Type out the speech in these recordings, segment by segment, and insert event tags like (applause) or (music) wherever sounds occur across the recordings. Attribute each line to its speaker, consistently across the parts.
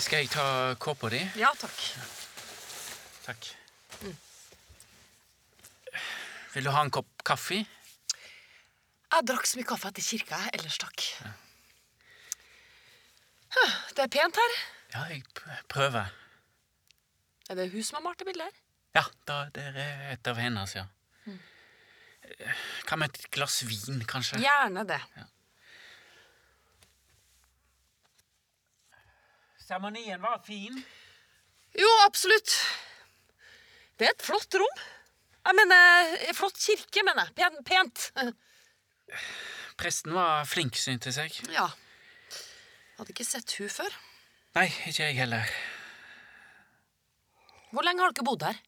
Speaker 1: Skal jeg ta kåpa di?
Speaker 2: Ja takk.
Speaker 1: Takk. Vil du ha en kopp kaffe?
Speaker 2: Jeg drakk så mye kaffe etter kirka, jeg. ellers takk. Huh, Det er pent her.
Speaker 1: Ja, jeg p- prøver.
Speaker 2: Er det hun som har malt det bildet her?
Speaker 1: Ja, da, der er et av hennes, ja.
Speaker 2: Mm.
Speaker 1: Eh, Hva med et glass vin, kanskje?
Speaker 2: Gjerne det.
Speaker 1: Seremonien var fin.
Speaker 2: Jo, absolutt. Det er et flott rom. Jeg mener, eh, flott kirke, mener jeg. Pen, pent. (laughs)
Speaker 1: Presten var flink, syntes jeg.
Speaker 2: Ja. Hadde ikke sett hun før.
Speaker 1: Nei, ikke jeg heller.
Speaker 2: Hvor lenge har dere bodd her?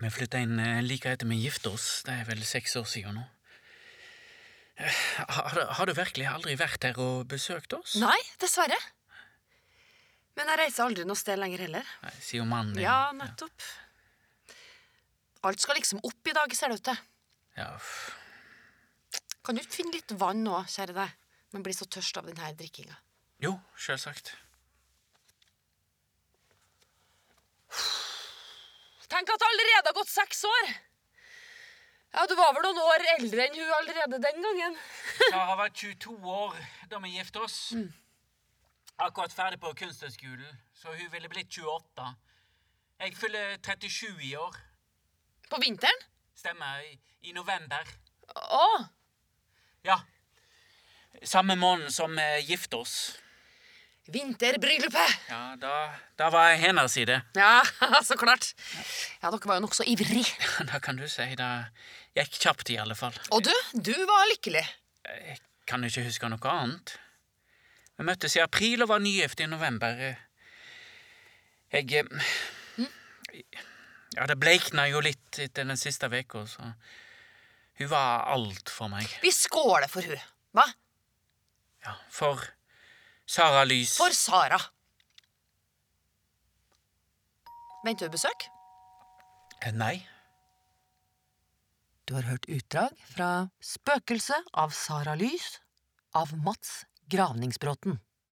Speaker 1: Vi flytta inn eh, like etter vi gifta oss. Det er vel seks år siden nå. Eh, Har, du- har du virkelig aldri vært her og besøkt oss?
Speaker 2: Nei, dessverre. Men jeg reiser aldri noe sted lenger heller.
Speaker 1: Nei, Sier mannen din.
Speaker 2: Ja, nettopp. Alt skal liksom opp i dag, ser det ut til.
Speaker 1: Ja, f-
Speaker 2: Kan du ikke finne litt vann nå, kjære deg? Men blir så tørst av denne drikkinga.
Speaker 1: Jo, sjølsagt.
Speaker 2: Tenk at det allerede har gått seks år! Ja, Du var vel noen år eldre enn hun allerede den gangen.
Speaker 1: Jeg har vært 22 år da vi gifta oss. Akkurat ferdig på Kunsthøgskolen, så hun ville blitt 28. Jeg fyller 37 i år.
Speaker 2: På vinteren?
Speaker 1: Stemmer. I november.
Speaker 2: Å!
Speaker 1: Ja. Samme måned som vi gifta oss.
Speaker 2: Vinterbryllupet!
Speaker 1: Ja, da, da var jeg hennes side. (laughs)
Speaker 2: Ja, (laughs) så klart. Ja, Dere var jo nokså ivrig.
Speaker 1: Da kan du si det gikk kjapt, i alle fall.
Speaker 2: Og du, du var lykkelig.
Speaker 1: Jeg kan ikke huske noe annet. Vi møttes i april og var nygift i november. Jeg eh, Ja, det bleikna jo litt etter den siste uka, så Hun var alt for meg.
Speaker 2: Vi skåler for hun. Hva?
Speaker 1: Ja, for Sara Lys.
Speaker 2: For Sara. Venter du besøk?
Speaker 1: Eh, Nei.
Speaker 2: Du har hørt utdrag fra Spøkelset av Sara Lys av Mats Gravningsbråten.